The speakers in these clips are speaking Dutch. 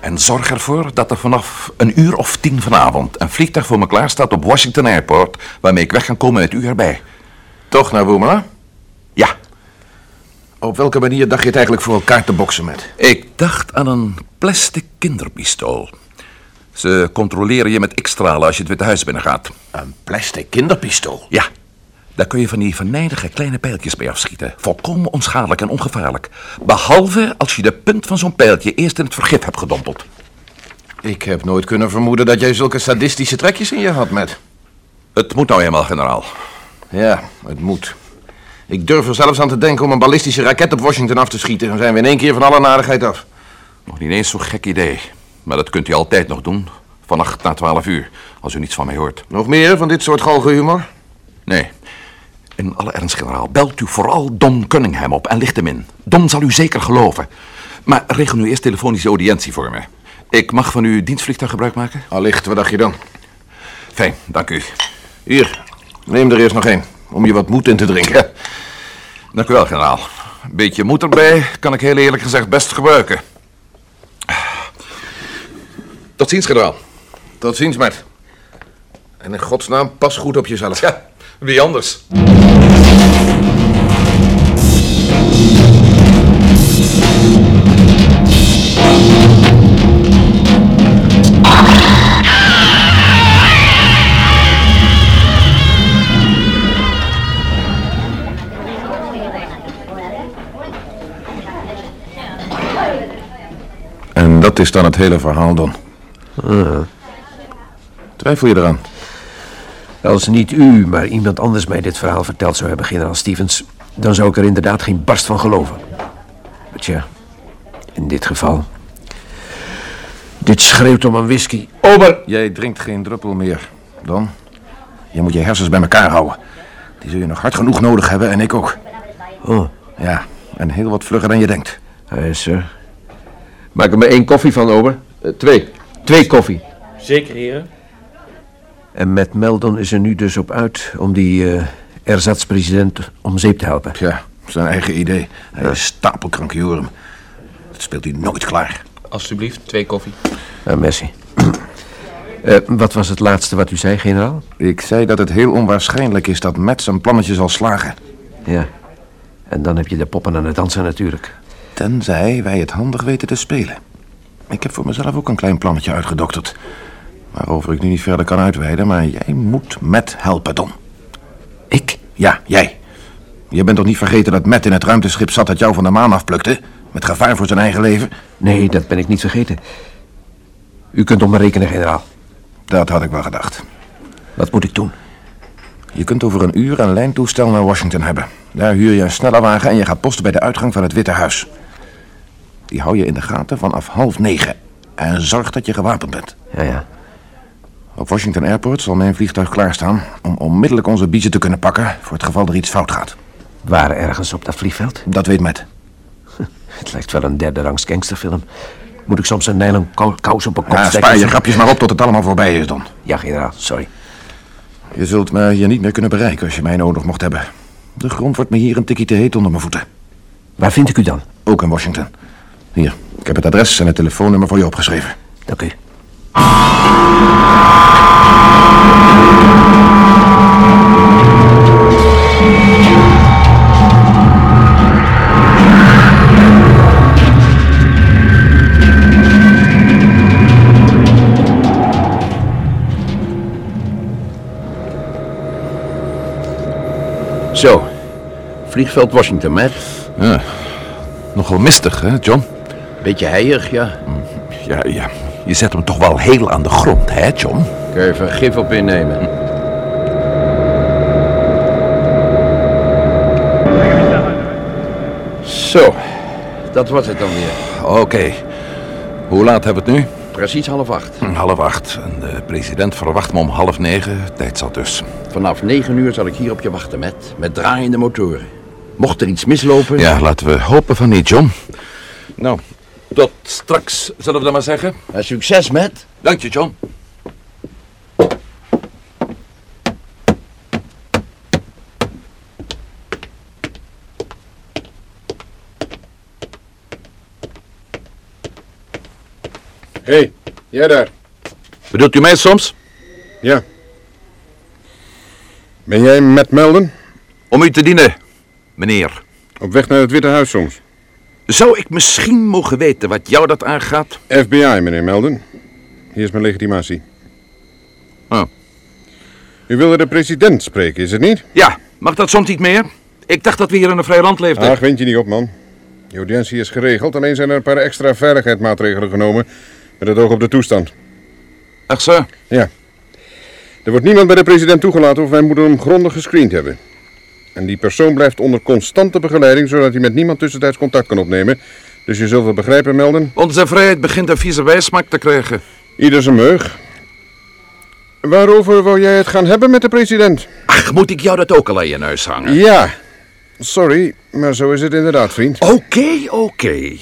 En zorg ervoor dat er vanaf een uur of tien vanavond een vliegtuig voor me klaar staat op Washington Airport, waarmee ik weg kan komen met u erbij. Toch nou, naar Boemela? Ja, Op welke manier dacht je het eigenlijk voor elkaar te boksen met? ik dacht aan een plastic kinderpistool. Ze controleren je met x-stralen als je het Witte Huis binnengaat. Een plastic kinderpistool. Ja, daar kun je van die venijnige kleine pijltjes mee afschieten. Volkomen onschadelijk en ongevaarlijk. Behalve als je de punt van zo'n pijltje eerst in het vergif hebt gedompeld. Ik heb nooit kunnen vermoeden dat jij zulke sadistische trekjes in je had, met. Het moet nou eenmaal, generaal. Ja, het moet. Ik durf er zelfs aan te denken om een ballistische raket op Washington af te schieten. Dan zijn we in één keer van alle narigheid af. Nog niet eens zo'n gek idee. Maar dat kunt u altijd nog doen. Vannacht na 12 uur, als u niets van mij hoort. Nog meer van dit soort galgenhumor? Nee. In alle ernst, generaal, belt u vooral Don Cunningham op en licht hem in. Don zal u zeker geloven. Maar regel nu eerst telefonische audiëntie voor me. Ik mag van uw dienstvliegtuig gebruik maken? Allicht, wat dacht je dan? Fijn, dank u. Hier, neem er eerst nog één. Om je wat moed in te drinken. Dank u wel, generaal. Een beetje moed erbij kan ik heel eerlijk gezegd best gebruiken. Tot ziens, generaal. Tot ziens, Matt. En in godsnaam, pas goed op jezelf. Ja, wie anders? En dat is dan het hele verhaal, Don. Twijfel je eraan? Als niet u, maar iemand anders mij dit verhaal verteld zou hebben, generaal Stevens, dan zou ik er inderdaad geen barst van geloven. Maar tja, in dit geval. Dit schreeuwt om een whisky. Ober! Jij drinkt geen druppel meer, Don. Je moet je hersens bij elkaar houden. Die zul je nog hard genoeg nodig hebben en ik ook. Oh, Ja, en heel wat vlugger dan je denkt. hij is er. Maak er maar één koffie van, Ober. Eh, twee. Twee koffie. Zeker, heren. En met Meldon is er nu dus op uit om die eh erzatspresident om zeep te helpen. Ja, zijn eigen idee. Hij is stapelkrankjorum. Dat speelt hij nooit klaar. Alsjeblieft, twee koffie. Ah, merci. Eh, wat was het laatste wat u zei, generaal? Ik zei dat het heel onwaarschijnlijk is dat Matt zijn plannetje zal slagen. Ja. En dan heb je de poppen aan het dansen natuurlijk. Tenzij wij het handig weten te spelen. Ik heb voor mezelf ook een klein plannetje uitgedokterd. Waarover ik nu niet verder kan uitweiden, maar jij moet Matt helpen, Don. Ik? Ja, jij. Je bent toch niet vergeten dat Matt in het ruimteschip zat dat jou van de maan afplukte? Met gevaar voor zijn eigen leven? Nee, dat ben ik niet vergeten. U kunt op me rekenen, generaal. Dat had ik wel gedacht. Wat moet ik doen? Je kunt over een uur een lijntoestel naar Washington hebben. Daar huur je een snelle wagen en je gaat posten bij de uitgang van het Witte Huis. Die hou je in de gaten vanaf half negen. En zorg dat je gewapend bent. Ja, ja. Op Washington Airport zal mijn vliegtuig klaarstaan om onmiddellijk onze biezen te kunnen pakken voor het geval er iets fout gaat. Waar ergens op dat vliegveld? Dat weet Matt. Het lijkt wel een derde rangs gangsterfilm. Moet ik soms een nylon kou- kous op een kop Ja, steken? spaar je grapjes maar op tot het allemaal voorbij is, Don. Ja, generaal, sorry. Je zult me hier niet meer kunnen bereiken als je mij nodig mocht hebben. De grond wordt me hier een tikkie te heet onder mijn voeten. Waar vind ik u dan? Ook in Washington. Hier, ik heb het adres en het telefoonnummer voor je opgeschreven. Dank u. Zo, vliegveld Washington met. Nogal mistig, hè, John? Beetje heilig, ja. Ja, ja. Je zet hem toch wel heel aan de grond, hè, John? Kun je even gif op innemen. Zo, dat was het dan weer. Oké. Hoe laat hebben we het nu? Precies half acht. Hm, Half acht. En de president verwacht me om half negen. Tijd zat dus. Vanaf negen uur zal ik hier op je wachten met, met draaiende motoren. Mocht er iets mislopen, Ja, laten we hopen van niet, John. Nou, tot straks, zullen we dat maar zeggen. eh, succes met. Dank je, John. Hé, hey, jij daar. Bedoelt u mij soms? Ja. Ben jij met Melden? Om u te dienen, meneer. Op weg naar het Witte Huis soms. Zou ik misschien mogen weten wat jou dat aangaat? FBI, meneer Melden. Hier is mijn legitimatie. Oh. Ah. U wilde de president spreken, is het niet? Ja, mag dat soms niet meer? Ik dacht dat we hier in een vrij land leefden. Ach, wind je niet op, man. De audiëntie is geregeld, alleen zijn er een paar extra veiligheidsmaatregelen genomen... met het oog op de toestand. Ach zo. Er wordt niemand bij de president toegelaten of wij moeten hem grondig gescreend hebben. En die persoon blijft onder constante begeleiding, zodat hij met niemand tussentijds contact kan opnemen. Dus je zult wel begrijpen, Melden. Onze vrijheid begint een vieze wijsmaak te krijgen. Ieder zijn meug. Waarover wou jij het gaan hebben met de president? Ach, moet ik jou dat ook al aan je neus hangen? Ja. Sorry, maar zo is het inderdaad, vriend. Oké, oké.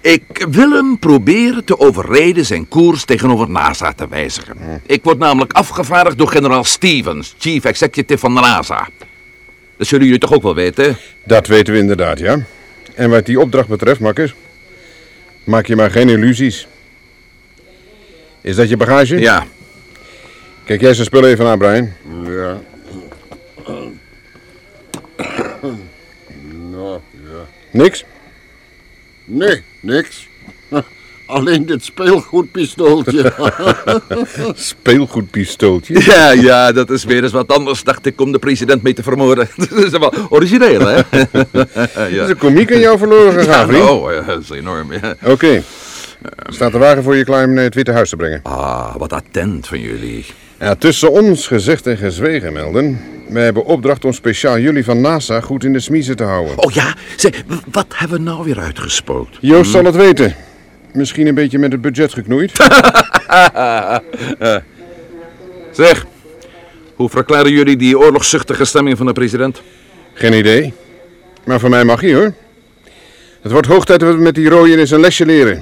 Ik wil hem proberen te overreden zijn koers tegenover NASA te wijzigen. Ik word namelijk afgevaardigd door generaal Stevens, chief executive van de NASA. Dat zullen jullie toch ook wel weten? Dat weten we inderdaad, ja. En wat die opdracht betreft, makker, maak je maar geen illusies. Is dat je bagage? Ja. Kijk jij zijn spullen even aan, Brian. Ja. Nou, ja. Niks? Nee, niks. Alleen dit speelgoedpistooltje. Speelgoedpistooltje. Ja, ja, dat is weer eens wat anders, dacht ik, om de president mee te vermoorden. dat is wel origineel, hè? Is de komiek aan jou verloren gegaan, vriend? Oh, ja, dat is enorm, ja. Oké. Staat de wagen voor je klaar om naar het Witte Huis te brengen? Ah, wat attent van jullie. Ja, tussen ons gezegd en gezwegen, Melden. Wij hebben opdracht om speciaal jullie van NASA goed in de smiezen te houden. Oh ja, zeg, w- wat hebben we nou weer uitgespookt? Joost zal het weten. Misschien een beetje met het budget geknoeid. Zeg, hoe verklaren jullie die oorlogszuchtige stemming van de president? Geen idee. Maar van mij mag hij hoor. Het wordt hoog tijd dat we met die rooien eens een lesje leren.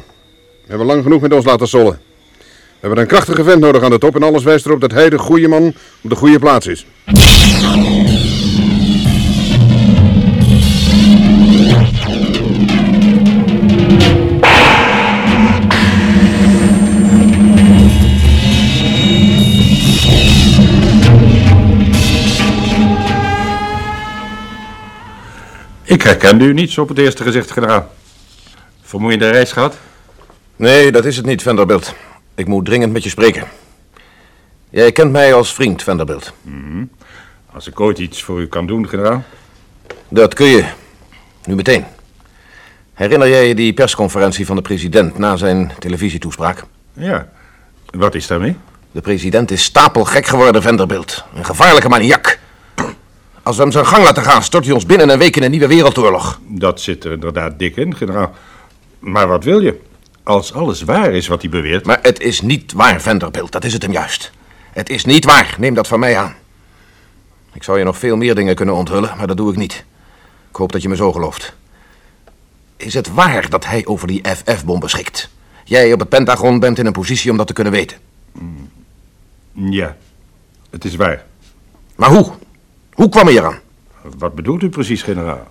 We hebben lang genoeg met ons laten sollen. We hebben een krachtige vent nodig aan de top en alles wijst erop dat hij de goede man op de goede plaats is. Ik herkende u niet zo op het eerste gezicht, generaal. Vermoeiende reis gehad? Nee, dat is het niet, Vanderbilt. Ik moet dringend met je spreken. Jij kent mij als vriend, Vanderbilt. Als ik ooit iets voor u kan doen, generaal. Dat kun je. Nu meteen. Herinner jij je die persconferentie van de president na zijn televisietoespraak? Ja. Wat is daarmee? De president is stapelgek geworden, Vanderbilt. Een gevaarlijke maniak. Als we hem zijn gang laten gaan, stort hij ons binnen een week in een nieuwe wereldoorlog. Dat zit er inderdaad dik in, generaal. Maar wat wil je? Als alles waar is wat hij beweert... Maar het is niet waar, Vanderbilt. Dat is het hem juist. Het is niet waar. Neem dat van mij aan. Ik zou je nog veel meer dingen kunnen onthullen, maar dat doe ik niet. Ik hoop dat je me zo gelooft. Is het waar dat hij over die FF-bom beschikt? Jij op het Pentagon bent in een positie om dat te kunnen weten. Ja, het is waar. Maar hoe? Hoe kwam hij eraan? Wat bedoelt u precies, generaal?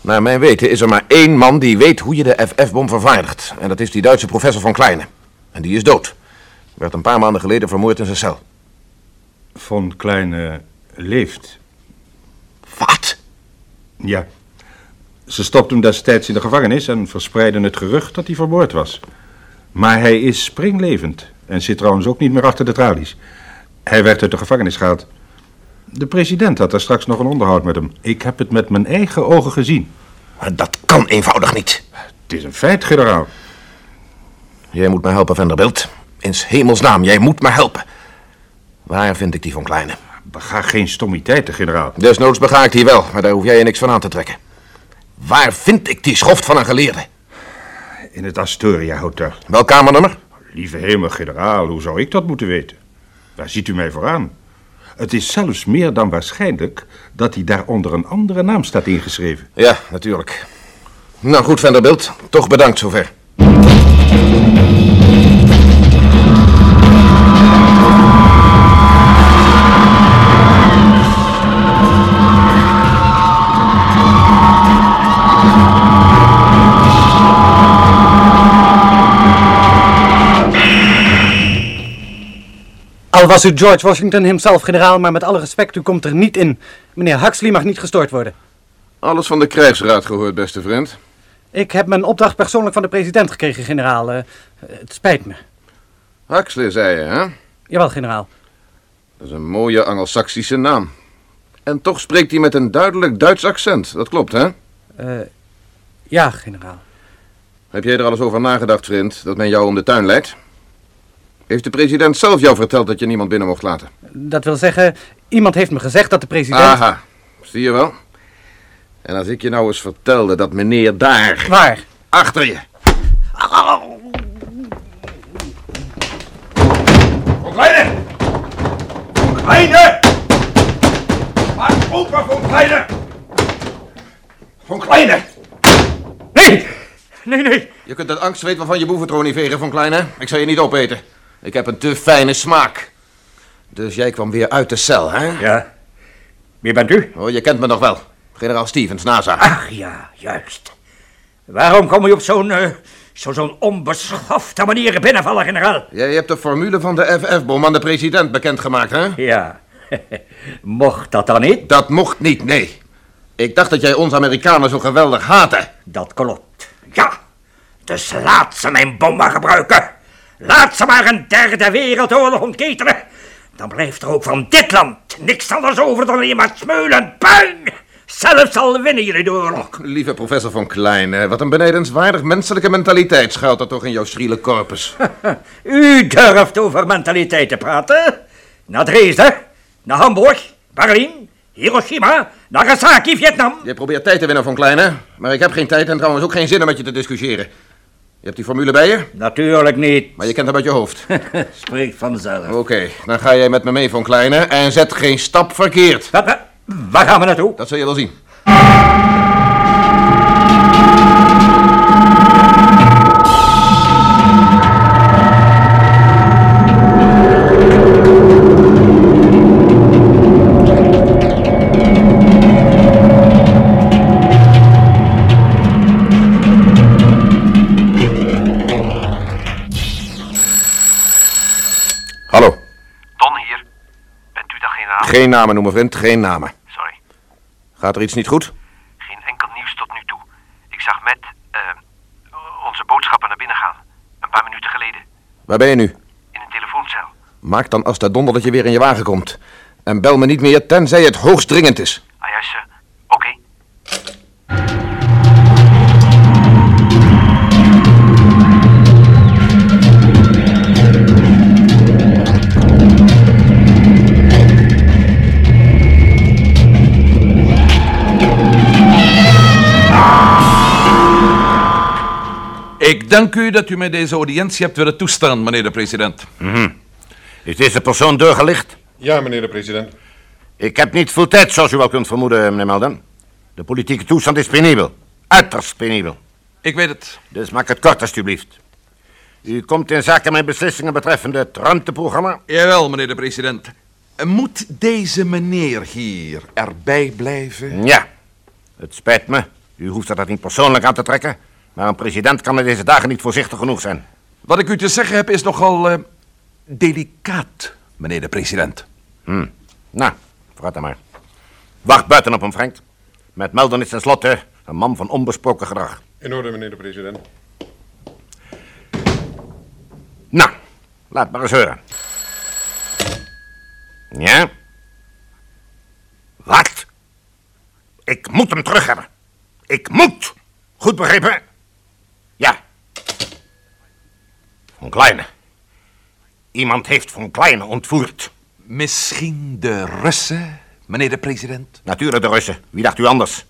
Naar mijn weten is er maar één man die weet hoe je de FF-bom vervaardigt. En dat is die Duitse professor van Kleine. En die is dood. Werd een paar maanden geleden vermoord in zijn cel. Von Kleine leeft. Wat? Ja. Ze stopte hem destijds in de gevangenis en verspreidden het gerucht dat hij vermoord was. Maar hij is springlevend en zit trouwens ook niet meer achter de tralies. Hij werd uit de gevangenis gehaald. De president had daar straks nog een onderhoud met hem. Ik heb het met mijn eigen ogen gezien. Maar dat kan eenvoudig niet. Het is een feit, generaal. Jij moet me helpen, Vanderbilt. In 's hemelsnaam, jij moet me helpen. Waar vind ik die van Kleine? Bega geen stommiteiten, generaal. Desnoods bega ik die wel, maar daar hoef jij je niks van aan te trekken. Waar vind ik die schoft van een geleerde? In het Astoria Hotel. Wel kamernummer? Lieve hemel, generaal, hoe zou ik dat moeten weten? Waar ziet u mij vooraan? Het is zelfs meer dan waarschijnlijk dat hij daar onder een andere naam staat ingeschreven. Ja, natuurlijk. Nou goed, Vanderbilt. Toch bedankt zover. Al was u George Washington himself generaal, maar met alle respect, u komt er niet in. Meneer Huxley mag niet gestoord worden. Alles van de krijgsraad gehoord, beste vriend. Ik heb mijn opdracht persoonlijk van de president gekregen, generaal. Eh, het spijt me. Huxley, zei je, hè? Jawel, generaal. Dat is een mooie Angelsaksische naam. En toch spreekt hij met een duidelijk Duits accent. Dat klopt, hè? Eh, ja, generaal. Heb jij er alles over nagedacht, vriend, dat men jou om de tuin leidt? Heeft de president zelf jou verteld dat je niemand binnen mocht laten? Dat wil zeggen, iemand heeft me gezegd dat de president... Aha, zie je wel? En als ik je nou eens vertelde dat meneer daar, Waar? achter je... Kleine! Kleine! Maak open, Von Kleine! Von Kleine! Nee! Nee, nee! Je kunt dat angstzweet waarvan je boeventroon niet vegen, Van Kleine. Ik zal je niet opeten. Ik heb een te fijne smaak. Dus jij kwam weer uit de cel, hè? Ja. Wie bent u? Oh, je kent me nog wel. Generaal Stevens, NASA. Ach ja, juist. Waarom kom je op zo'n eh, zo, zo'n onbeschofte manier binnenvallen, generaal? Jij hebt de formule van de FF-bom aan de president bekendgemaakt, hè? Ja. Mocht dat dan niet? Dat mocht niet, nee. Ik dacht dat jij ons Amerikanen zo geweldig haatte. Dat klopt. Ja. Dus laat ze mijn bom maar gebruiken. Laat ze maar een derde wereldoorlog ontketenen. Dan blijft er ook van dit land niks anders over dan alleen maar smeulen en puin. Zelfs al winnen jullie de oorlog. Lieve professor van Klein, eh, wat een benedenswaardig menselijke mentaliteit schuilt er toch in jouw schriele corpus. U durft over mentaliteit te praten? Naar Dresden, naar Hamburg, Berlin, Hiroshima, Nagasaki, Vietnam. Je probeert tijd te winnen van Klein, hè? Maar ik heb geen tijd en trouwens ook geen zin om met je te discussiëren. Je hebt die formule bij je, Natuurlijk niet. maar je kent hem uit je hoofd. Spreekt vanzelf. Oké, dan ga jij met me mee, Van Kleine, en zet geen stap verkeerd. Wa- wa- Waar gaan we naartoe? Dat zul je wel zien. Hallo. Don hier. Bent u de generaal? Geen namen noemen, vriend. Geen namen. Sorry. Gaat er iets niet goed? Geen enkel nieuws tot nu toe. Ik zag met eh, onze boodschappen naar binnen gaan. Een paar minuten geleden. Waar ben je nu? In een telefooncel. Maak dan als de donder dat je weer in je wagen komt. En bel me niet meer, tenzij het hoogst dringend is. Ah juist, sir. Oké. Ik dank u dat u mij deze audiëntie hebt willen toestaan, meneer de president. Is deze persoon doorgelicht? Ja, meneer de president. Ik heb niet veel tijd, zoals u wel kunt vermoeden, meneer Melden. De politieke toestand is penibel. Uiterst penibel. Ik weet het. Dus maak het kort, alstublieft. U komt in zaken mijn beslissingen betreffende het ruimteprogramma. Jawel, meneer de president. Moet deze meneer hier erbij blijven? Ja, het spijt me. U hoeft er dat niet persoonlijk aan te trekken. Maar een president kan in deze dagen niet voorzichtig genoeg zijn. Wat ik u te zeggen heb is nogal eh, delicaat, meneer de president. Nou, vooruit dan maar. Wacht buiten op hem, Frank. Met Melden is tenslotte een man van onbesproken gedrag. In orde, meneer de president. Nou, laat maar eens horen. Ja? hem terug hebben. Ik moet. Goed begrepen? Ja. Van Kleine. Iemand heeft Van Kleine ontvoerd. Misschien de Russen, meneer de president? Natuurlijk de Russen. Wie dacht u anders?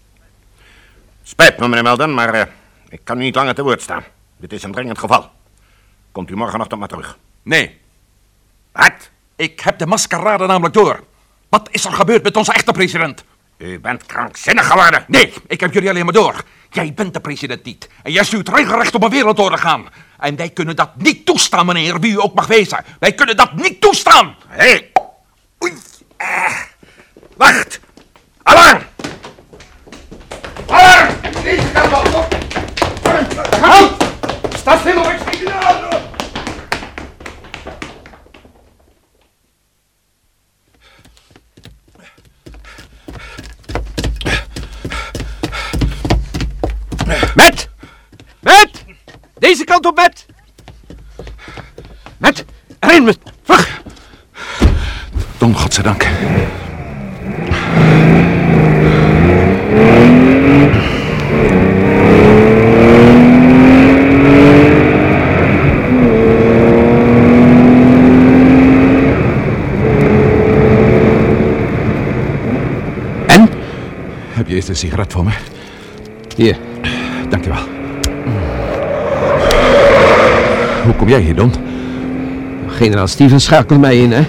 Spijt me, meneer Melden, maar eh, ik kan u niet langer te woord staan. Dit is een dringend geval. Komt u morgenochtend maar terug. Nee. Wat? Ik heb de maskerade namelijk door. Wat is er gebeurd met onze echte president? U bent krankzinnig geworden. Nee, ik heb jullie alleen maar door. Jij bent de president niet. En jij stuurt regelrecht op een wereldoorlog gaan. En wij kunnen dat niet toestaan, meneer, wie u ook mag wezen. Wij kunnen dat niet toestaan. Hé. Oei. Eh. Wacht. Alarm. Alarm! Niet gaan op! Houd! Sta stil of ik schiet je aan! Met! Met! Deze kant op, Met! Met! Erin, met! Vlug! Don, godzijdank. En? Heb je eerst een sigaret voor me? Hier. Dankjewel. Hoe kom jij hier, Don? Generaal Stevens schakelde mij in, hè?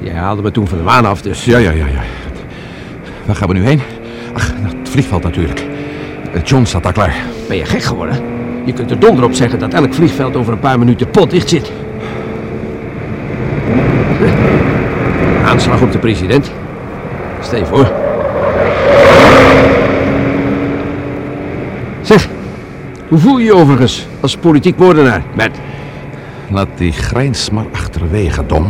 Jij haalde me toen van de maan af, dus... Ja, ja, ja, ja. Waar gaan we nu heen? Ach, naar het vliegveld natuurlijk. Eh, John staat daar klaar. Ben je gek geworden? Je kunt er donder op zeggen dat elk vliegveld over een paar minuten potdicht zit. Aanslag op de president. Stel je voor. Zeg, hoe voel je je overigens als politiek moordenaar, Matt? Laat die grijns maar achterwege, Dom.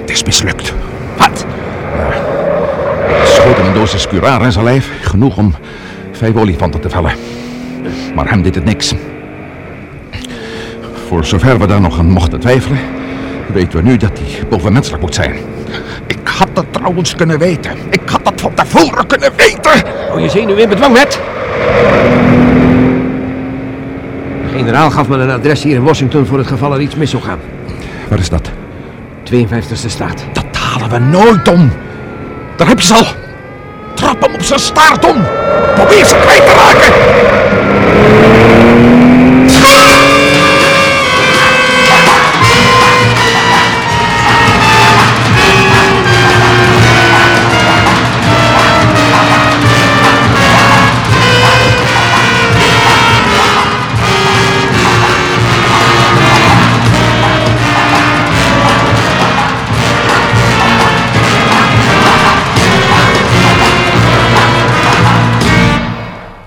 Het is mislukt. Eh, Wat? Ja. Schoten een dosis curare in zijn lijf. Genoeg om vijf olifanten te vellen. Maar hem deed het niks. Voor zover we daar nog aan mochten twijfelen... weten we nu dat hij bovenmenselijk moet zijn. Ik had dat trouwens kunnen weten. Ik had dat van tevoren kunnen weten. Oh, je zenuwen in bedwang, Matt. De generaal gaf me een adres hier in Washington voor het geval er iets mis zou gaan. Waar is dat? 52e staat. Dat halen we nooit om. Daar heb je ze al. Trap hem op zijn staart om. Probeer ze kwijt te raken.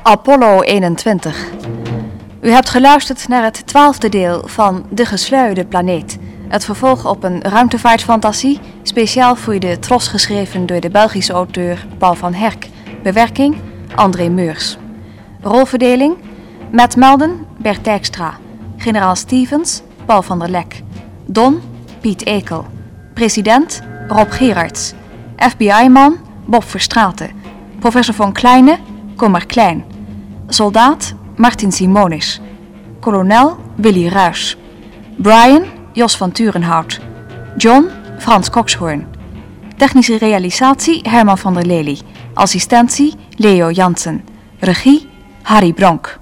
Apollo 21. U hebt geluisterd naar het twaalfde deel van De Gesluierde Planeet. Het vervolg op een ruimtevaartfantasie, speciaal voor de Tros geschreven door de Belgische auteur Paul van Herk. Bewerking André Meurs. Rolverdeling Matt Melden, Bert Dijkstra. Generaal Stevens, Paul van der Lek. Don, Piet Ekel. President, Rob Gerards. FBI-man, Bob Verstraeten. Professor van Kleine, Kommer Klein. Soldaat, Martin Simonis. Kolonel, Willy Ruys. Brian, Jos van Turenhout. John, Frans Kokshoorn. Technische realisatie, Herman van der Lely. Assistentie, Leo Jansen. Regie, Harry Bronk.